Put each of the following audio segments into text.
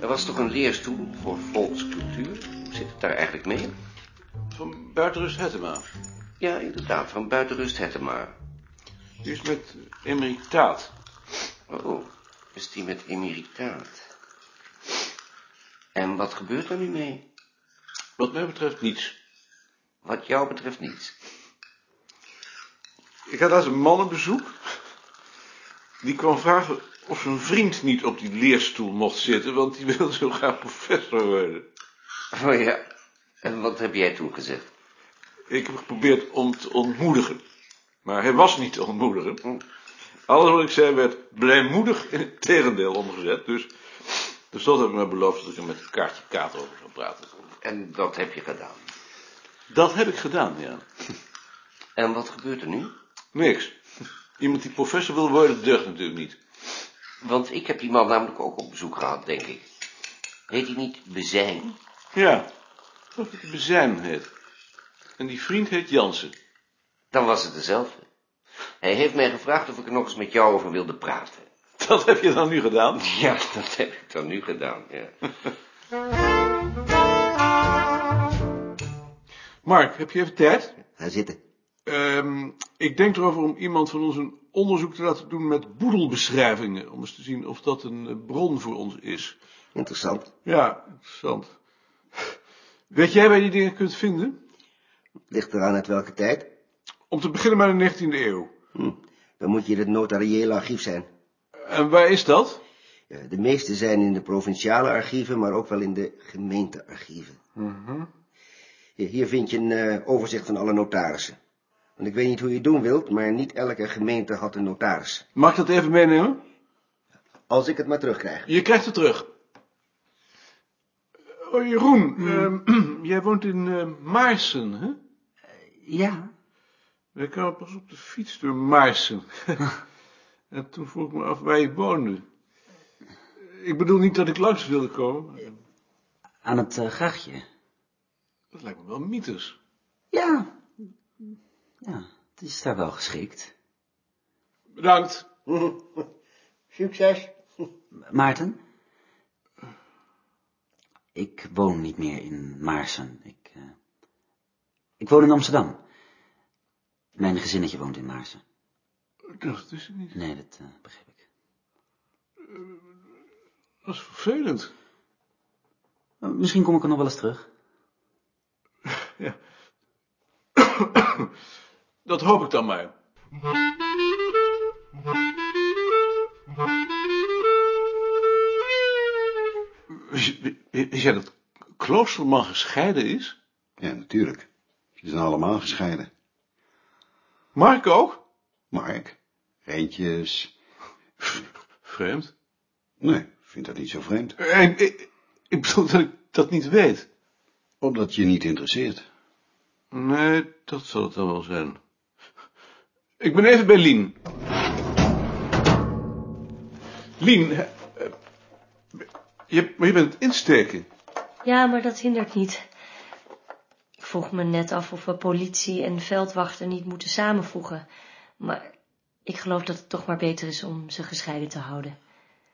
was toch een leerstoel voor volkscultuur? Hoe zit het daar eigenlijk mee? Van Buitenrust Hettema. Ja, inderdaad, van buitenrust Hettema. Die is met emeritaat. Oh, is die met emeritaat. En wat gebeurt er nu mee? Wat mij betreft niets. Wat jou betreft niets. Ik had laatst een man op bezoek. Die kwam vragen of zijn vriend niet op die leerstoel mocht zitten, want die wilde zo graag professor worden. Oh ja, en wat heb jij toen gezegd? Ik heb geprobeerd om te ontmoedigen. Maar hij was niet te ontmoedigen. Alles wat ik zei werd blijmoedig in het tegendeel omgezet. Dus, dus dat heb ik me beloofd dat ik er met een kaartje kaart over zou praten. En dat heb je gedaan. Dat heb ik gedaan, ja. En wat gebeurt er nu? Niks. Iemand die professor wil worden, deugt natuurlijk niet. Want ik heb die man namelijk ook op bezoek gehad, denk ik. Heet hij niet Bezijn? Ja, ik geloof dat hij Bezijn heet. En die vriend heet Jansen. Dan was het dezelfde. Hij heeft mij gevraagd of ik er nog eens met jou over wilde praten. Dat heb je dan nu gedaan? Ja, dat heb ik dan nu gedaan, ja. Mark, heb je even tijd? Ga zitten. Ehm, ik denk erover om iemand van ons een onderzoek te laten doen met boedelbeschrijvingen. Om eens te zien of dat een eh, bron voor ons is. Interessant. Ja, interessant. Weet jij waar je die dingen kunt vinden? Ligt eraan uit welke tijd. Om te beginnen bij de 19e eeuw. Hm. Dan moet je in het notariële archief zijn. En waar is dat? Eh, De meeste zijn in de provinciale archieven, maar ook wel in de gemeentearchieven. Mhm. Hier- Hier vind je een eh, overzicht van alle notarissen. Want ik weet niet hoe je het doen wilt, maar niet elke gemeente had een notaris. Mag ik dat even meenemen? Als ik het maar terugkrijg. Je krijgt het terug. Oh, Jeroen, ehm, jij woont in eh, Maarsen, hè? Ja, Wij kwamen pas op de fiets door Maarsen. en toen vroeg ik me af waar je woonde. Ik bedoel niet dat ik langs wilde komen. maar aan het eh, grachtje. Dat lijkt me wel mythes. Ja. Ja, het is daar wel geschikt. Bedankt. Succes. Maarten? Ik woon niet meer in Maarsen. Ik, eh, ik woon in Amsterdam. Mijn gezinnetje woont in Maarsen. Dat is het niet. Eh, Nee, dat eh, begrijp ik. Dat is vervelend. Eh, Misschien kom ik er nog wel eens terug. Dat hoop ik dan maar. Wist je- Wist jij dat Kloosterman gescheiden is? Ja, natuurlijk. Ze zijn allemaal gescheiden. Mark ook? Mark, Reentjes... Vreemd. Nee, ik vind dat niet zo vreemd. En, Eh, ik, ik bedoel dat ik dat niet weet. Omdat je niet interesseert. Nee, dat zal het dan wel zijn. Ik ben even bij Lien. Lien, hè, eh, je, maar je bent het insteken. Ja, maar dat hindert niet. Ik vroeg me net af of we politie en veldwachten niet moeten samenvoegen. Maar ik geloof dat het toch maar beter is om ze gescheiden te houden.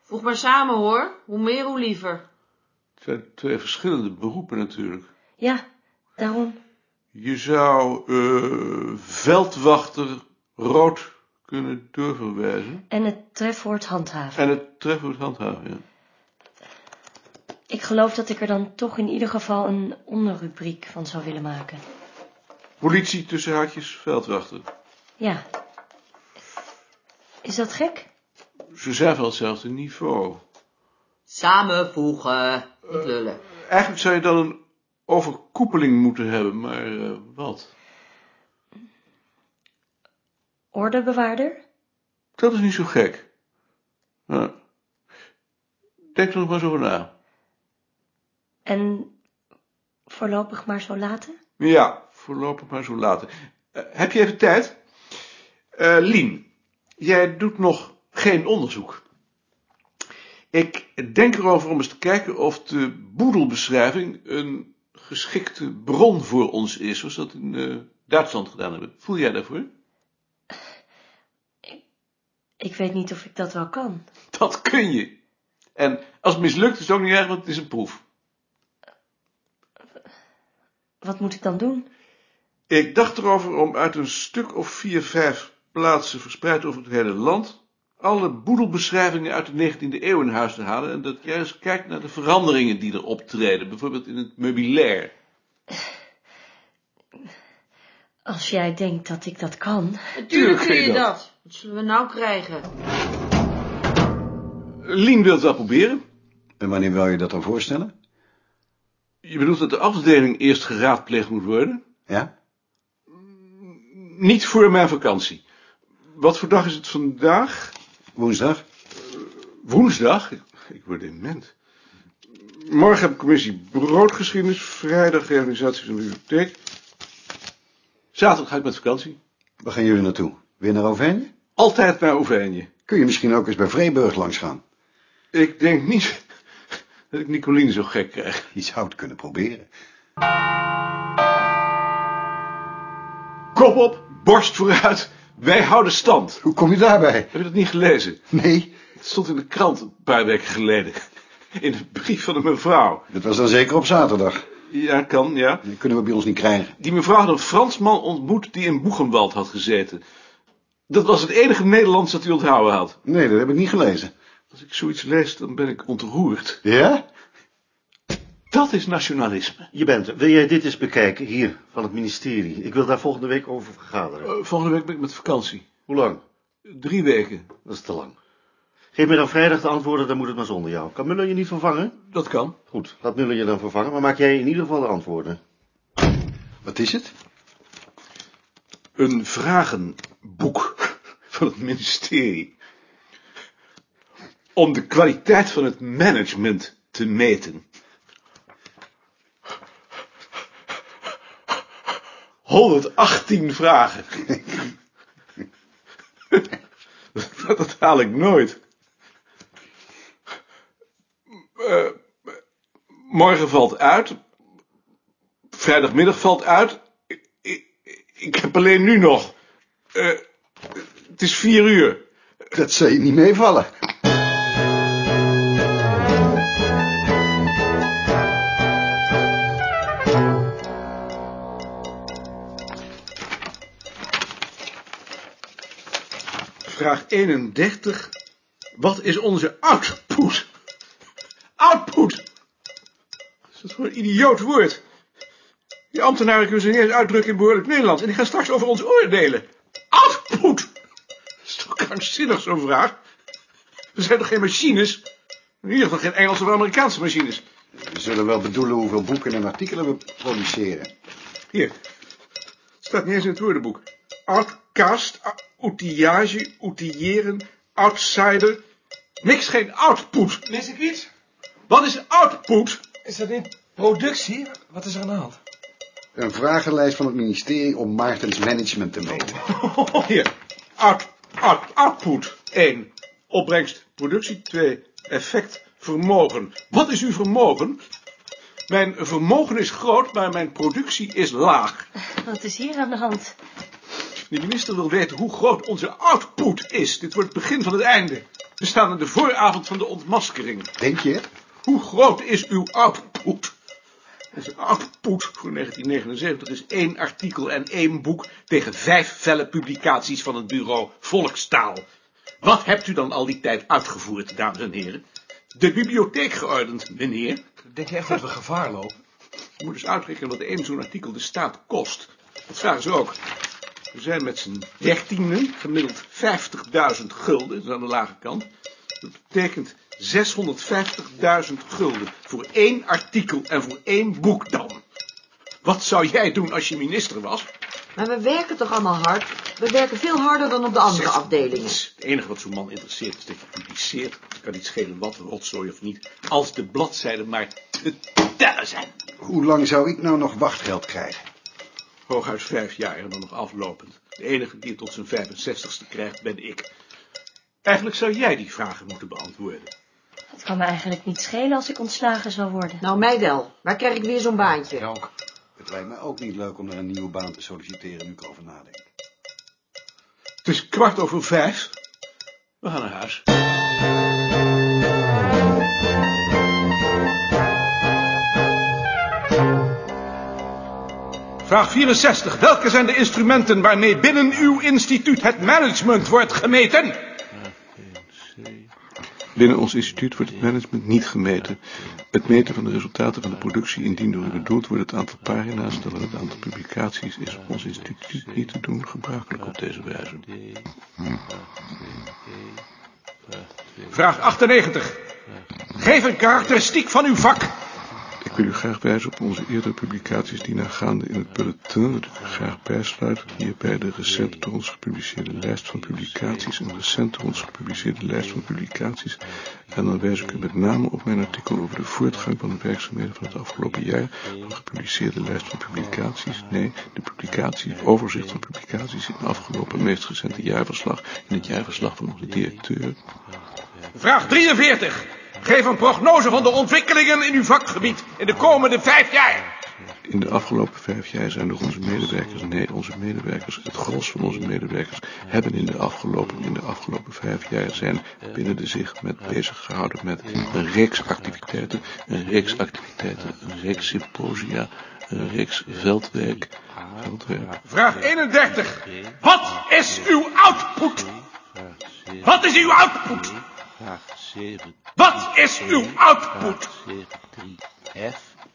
Voeg maar samen hoor. Hoe meer, hoe liever. Het zijn twee verschillende beroepen natuurlijk. Ja, daarom. Je zou eh, veldwachter rood kunnen doorverwijzen. En het trefwoord handhaven. En het trefwoord handhaven, ja. Ik geloof dat ik er dan toch in ieder geval een onderrubriek van zou willen maken. Politie tussen haakjes, veldwachter. Ja. Is dat gek? Ze zijn van hetzelfde niveau. Eh, Samenvoegen. Niet lullen. Eigenlijk zou je dan een overkoepeling moeten hebben, maar eh, wat? Ordebewaarder? Dat is niet zo gek. Ja. Denk er nog maar eens over na. En voorlopig maar zo laten? Ja, voorlopig maar zo laten. Eh, heb je even tijd? Eh, Lien, jij doet nog geen onderzoek. Ik denk erover om eens te kijken of de boedelbeschrijving een geschikte bron voor ons is, zoals we dat in eh, Duitsland gedaan hebben. Voel jij daarvoor? Ik weet niet of ik dat wel kan. Dat kun je. En als het mislukt is het ook niet erg, want het is een proef. Wat moet ik dan doen? Ik dacht erover om uit een stuk of vier, vijf plaatsen verspreid over het hele land alle boedelbeschrijvingen uit de 19e eeuw in huis te halen en dat jij eens kijkt naar de veranderingen die er optreden, bijvoorbeeld in het meubilair. Als jij denkt dat ik dat kan. Natuurlijk kun kun je je dat. dat. Wat zullen we nou krijgen? Lien wil het wel proberen. En wanneer wil je dat dan voorstellen? Je bedoelt dat de afdeling eerst geraadpleegd moet worden? Ja? Niet voor mijn vakantie. Wat voor dag is het vandaag? Woensdag? Woensdag? Ik word dement. Morgen heb ik commissie broodgeschiedenis, vrijdag realisatie van de bibliotheek. Zaterdag ga ik met vakantie. Waar gaan jullie naartoe? Weer naar Auvergne? Altijd naar Oeveenje. Kun je misschien ook eens bij Vreeburg langs gaan? Ik denk niet dat ik Nicoline zo gek krijg. Je zou het kunnen proberen. Kop op, borst vooruit, wij houden stand. Hoe kom je daarbij? Heb je dat niet gelezen? Nee, Het stond in de krant een paar weken geleden. In een brief van een mevrouw. dat was dan zeker op zaterdag. Ja, kan, ja. Dat kunnen we bij ons niet krijgen. Die mevrouw had een Fransman ontmoet die in Boegenwald had gezeten. Dat was het enige Nederlands dat hij onthouden had. Nee, dat heb ik niet gelezen. Als ik zoiets lees, dan ben ik ontroerd. Ja? Dat is nationalisme. Je bent er. Wil jij dit eens bekijken? Hier, van het ministerie. Ik wil daar volgende week over vergaderen. Eh, volgende week ben ik met vakantie. Hoe lang? Drie weken. Dat is te lang. Geef mij dan vrijdag de antwoorden, dan moet het maar zonder jou. Kan Muller je niet vervangen? Dat kan. Goed, laat Muller je dan vervangen, maar maak jij in ieder geval de antwoorden. Wat is het? Een vragenboek van het ministerie. Om de kwaliteit van het management te meten. ...118 vragen. dat, dat haal ik nooit. Eh, morgen valt uit. Vrijdagmiddag valt uit. Ik- ik- ik heb alleen nu nog. Eh, het is vier uur. Dat zal je niet meevallen. Vraag 31. Wat is onze output? Output! Wat is dat voor een idioot woord? Die ambtenaren kunnen ze niet eens uitdrukken in behoorlijk Nederlands. En die gaan straks over ons oordelen. Output! Dat is toch krankzinnig zo'n vraag? We zijn toch geen machines? In ieder geval geen Engelse of Amerikaanse machines. We zullen wel bedoelen hoeveel boeken en artikelen we produceren. Hier. Staat niet eens in het woordenboek. Outcast, ou- outillage, outilleren, outsider. Niks, geen output. Mis ik iets? Wat is output? Is dat niet productie? Wat is er aan de hand? Een vragenlijst van het ministerie om Maartens management te meten. Oh, Hier. Out, out, output. 1. Opbrengst, productie. 2. Effect, vermogen. Wat is uw vermogen? Mijn vermogen is groot, maar mijn productie is laag. Wat is hier aan de hand? De minister wil weten hoe groot onze output is. Dit wordt het begin van het einde. We staan aan de vooravond van de ontmaskering. Denk je? Hoe groot is uw output? Onze output voor 1979 is één artikel en één boek tegen vijf felle publicaties van het bureau Volkstaal. Wat hebt u dan al die tijd uitgevoerd, dames en heren? De bibliotheek geordend, meneer. Denk je echt dat we gevaar lopen? Je moet eens uitrekenen wat één zo'n artikel de staat kost. Dat zagen ze ook. We zijn met z'n dertienen gemiddeld 50.000 gulden, dat is aan de lage kant. Dat betekent 650.000 gulden voor één artikel en voor één boek dan. Wat zou jij doen als je minister was? Maar we werken toch allemaal hard? We werken veel harder dan op de andere afdelingen. Het enige wat zo'n man interesseert is dat je publiceert. Het kan niet schelen wat, rotzooi of niet. Als de bladzijden maar te tellen zijn. Hoe lang zou ik nou nog wachtgeld krijgen? Hooguit vijf jaar en dan nog aflopend. De enige die het tot zijn 65ste krijgt, ben ik. Eigenlijk zou jij die vragen moeten beantwoorden. Het kan me eigenlijk niet schelen als ik ontslagen zou worden. Nou, mij wel. Waar krijg ik weer zo'n baantje? ook. Het lijkt mij ook niet leuk om naar een nieuwe baan te solliciteren nu ik over nadenk. Het is kwart over vijf. We gaan naar huis. Vraag 64. Welke zijn de instrumenten waarmee binnen uw instituut het management wordt gemeten? Binnen ons instituut wordt het management niet gemeten. Het meten van de resultaten van de productie, indien door u bedoeld wordt het aantal pagina's, dan wel het aantal publicaties, is op ons instituut niet te doen gebruikelijk op deze wijze. Vraag 98. Geef een karakteristiek van uw vak. Ik wil u graag wijzen op onze eerdere publicaties die nagaande in het bulletin, dat ik u graag bijsluit, hierbij de recent door ons gepubliceerde lijst van publicaties en recent door ons gepubliceerde lijst van publicaties. En dan wijs ik u met name op mijn artikel over de voortgang van de werkzaamheden van het afgelopen jaar, van de gepubliceerde lijst van publicaties, nee, de publicatie, overzicht van publicaties in het afgelopen meest recente jaarverslag, in het jaarverslag van onze directeur. Vraag 43. Geef een prognose van de ontwikkelingen in uw vakgebied in de komende vijf jaar. In de afgelopen vijf jaar zijn door onze medewerkers, nee, onze medewerkers, het gros van onze medewerkers hebben in de afgelopen, in de afgelopen vijf jaar zijn binnen de zich met bezig gehouden met een reeks activiteiten, een reeks activiteiten, een reeks symposia, een reeks veldwerk, veldwerk. Vraag 31. Wat is uw output? Wat is uw output? Wat is uw output?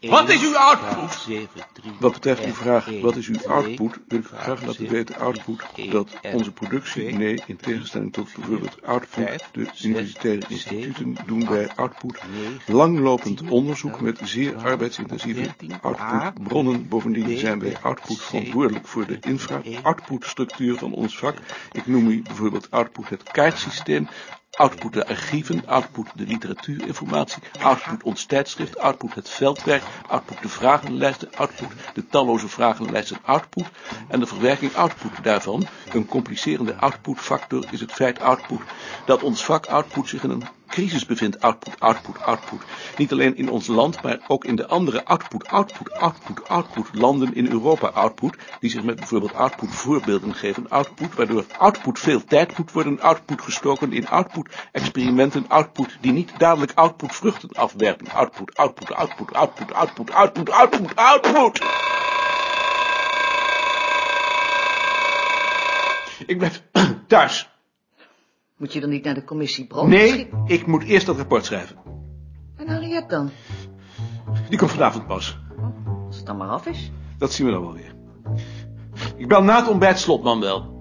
Wat is uw output? Wat betreft uw vraag, wat is uw output, wil ik u graag laten weten, output, dat onze productie, nee, in tegenstelling tot bijvoorbeeld output, de universitaire instituten doen bij output langlopend onderzoek met zeer arbeidsintensieve outputbronnen. Bovendien zijn wij output verantwoordelijk voor de infra-outputstructuur van ons vak. Ik noem u bijvoorbeeld output het kaartsysteem, Output de archieven, output de literatuurinformatie, output ons tijdschrift, output het veldwerk, output de vragenlijsten, output de talloze vragenlijsten output en de verwerking output daarvan. Een complicerende outputfactor is het feit output dat ons vak output zich in een crisis bevindt output, output, output. Niet alleen in ons land, maar ook in de andere output, output, output, output landen in Europa output, die zich met bijvoorbeeld output voorbeelden geven, output, waardoor output veel tijd moet worden, output gestoken in output experimenten, output die niet dadelijk output vruchten afwerpen, output, output, output, output, output, output, output, output. Ik blijf thuis. Moet je dan niet naar de commissie brood? Nee, ik moet eerst dat rapport schrijven. En Harriet dan? Die komt vanavond pas. Als het dan maar af is. Dat zien we dan wel weer. Ik bel na het ontbijt slotman wel.